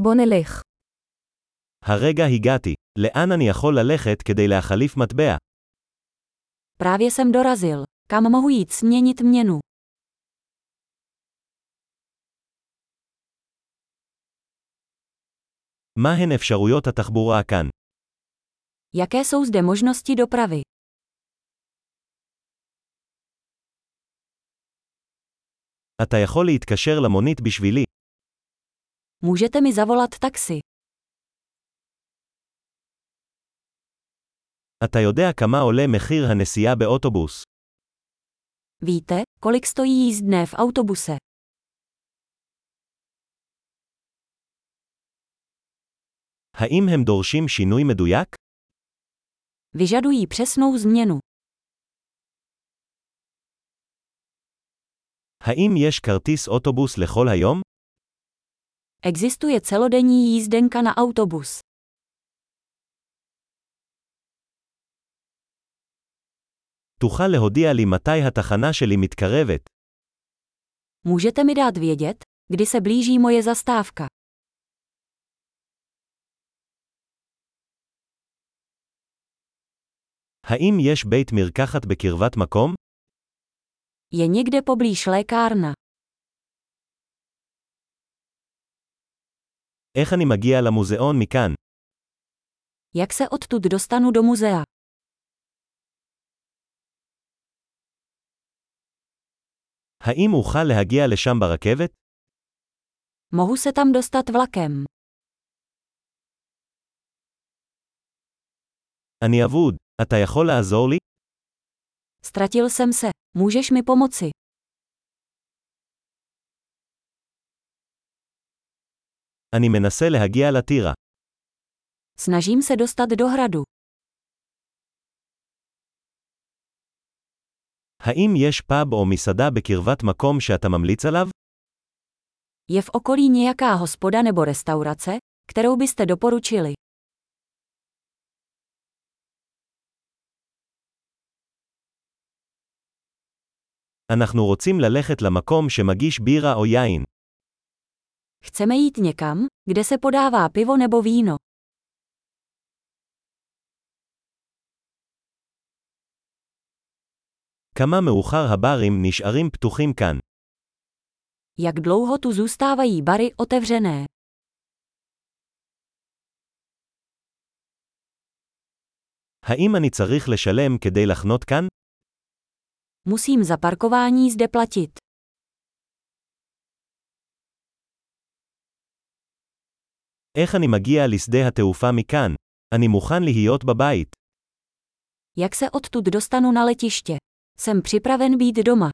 בוא נלך. הרגע הגעתי. לאן אני יכול ללכת כדי להחליף מטבע? Právě jsem dorazil. Kam mohu jít směnit měnu? מהן אפשרויות התחבורה כאן? Jaké jsou zde možnosti dopravy? אתה יכול להתקשר למונית בשבילי. Můžete mi zavolat taxi. אתה יודע כמה עולה מחיר הנסיעה באוטובוס. Víte, kolik stojí jízdné v autobuse? האם הם דורשים שינוי מדויק? Vyžadují přesnou změnu. האם יש כרטיס אוטובוס לכל היום? Existuje celodenní jízdenka na autobus. תוכל להודיע לי מתי התחנה שלי מתקרבת. Můžete mi dát vědět, kdy se blíží moje zastávka. האם יש בית מרקחת בקרבת מקום? Je někde poblíž lékárna. איך אני מגיע למוזיאון מכאן? Jak se odtud dostanu do muzea? האם אוכל להגיע לשם ברכבת? Mohu se tam dostat vlakem. אני אבוד. אתה יכול לעזור לי? Ztratil jsem se. Můžeš mi pomoci? אני מנסה להגיע לטירה. Snažím se dostat do hradu. האם יש פאב או מסעדה בקרבת מקום שאתה ממליץ עליו? Je v okolí nějaká hospoda nebo restaurace, kterou byste doporučili? אנחנו רוצים ללכת למקום שמגיש בירה או יין. Chceme jít někam, kde se podává pivo nebo víno. כמה מאוחר הברים נשארים פתוחים כאן? Jak dlouho tu zůstávají bary otevřené? האם אני צריך לשלם כדי לחנות כאן? Musím za parkování zde platit. איך אני מגיע לשדה התעופה מכאן? אני מוכן להיות בבית. Jak se odtud dostanu na letiště? Jsem připraven být doma.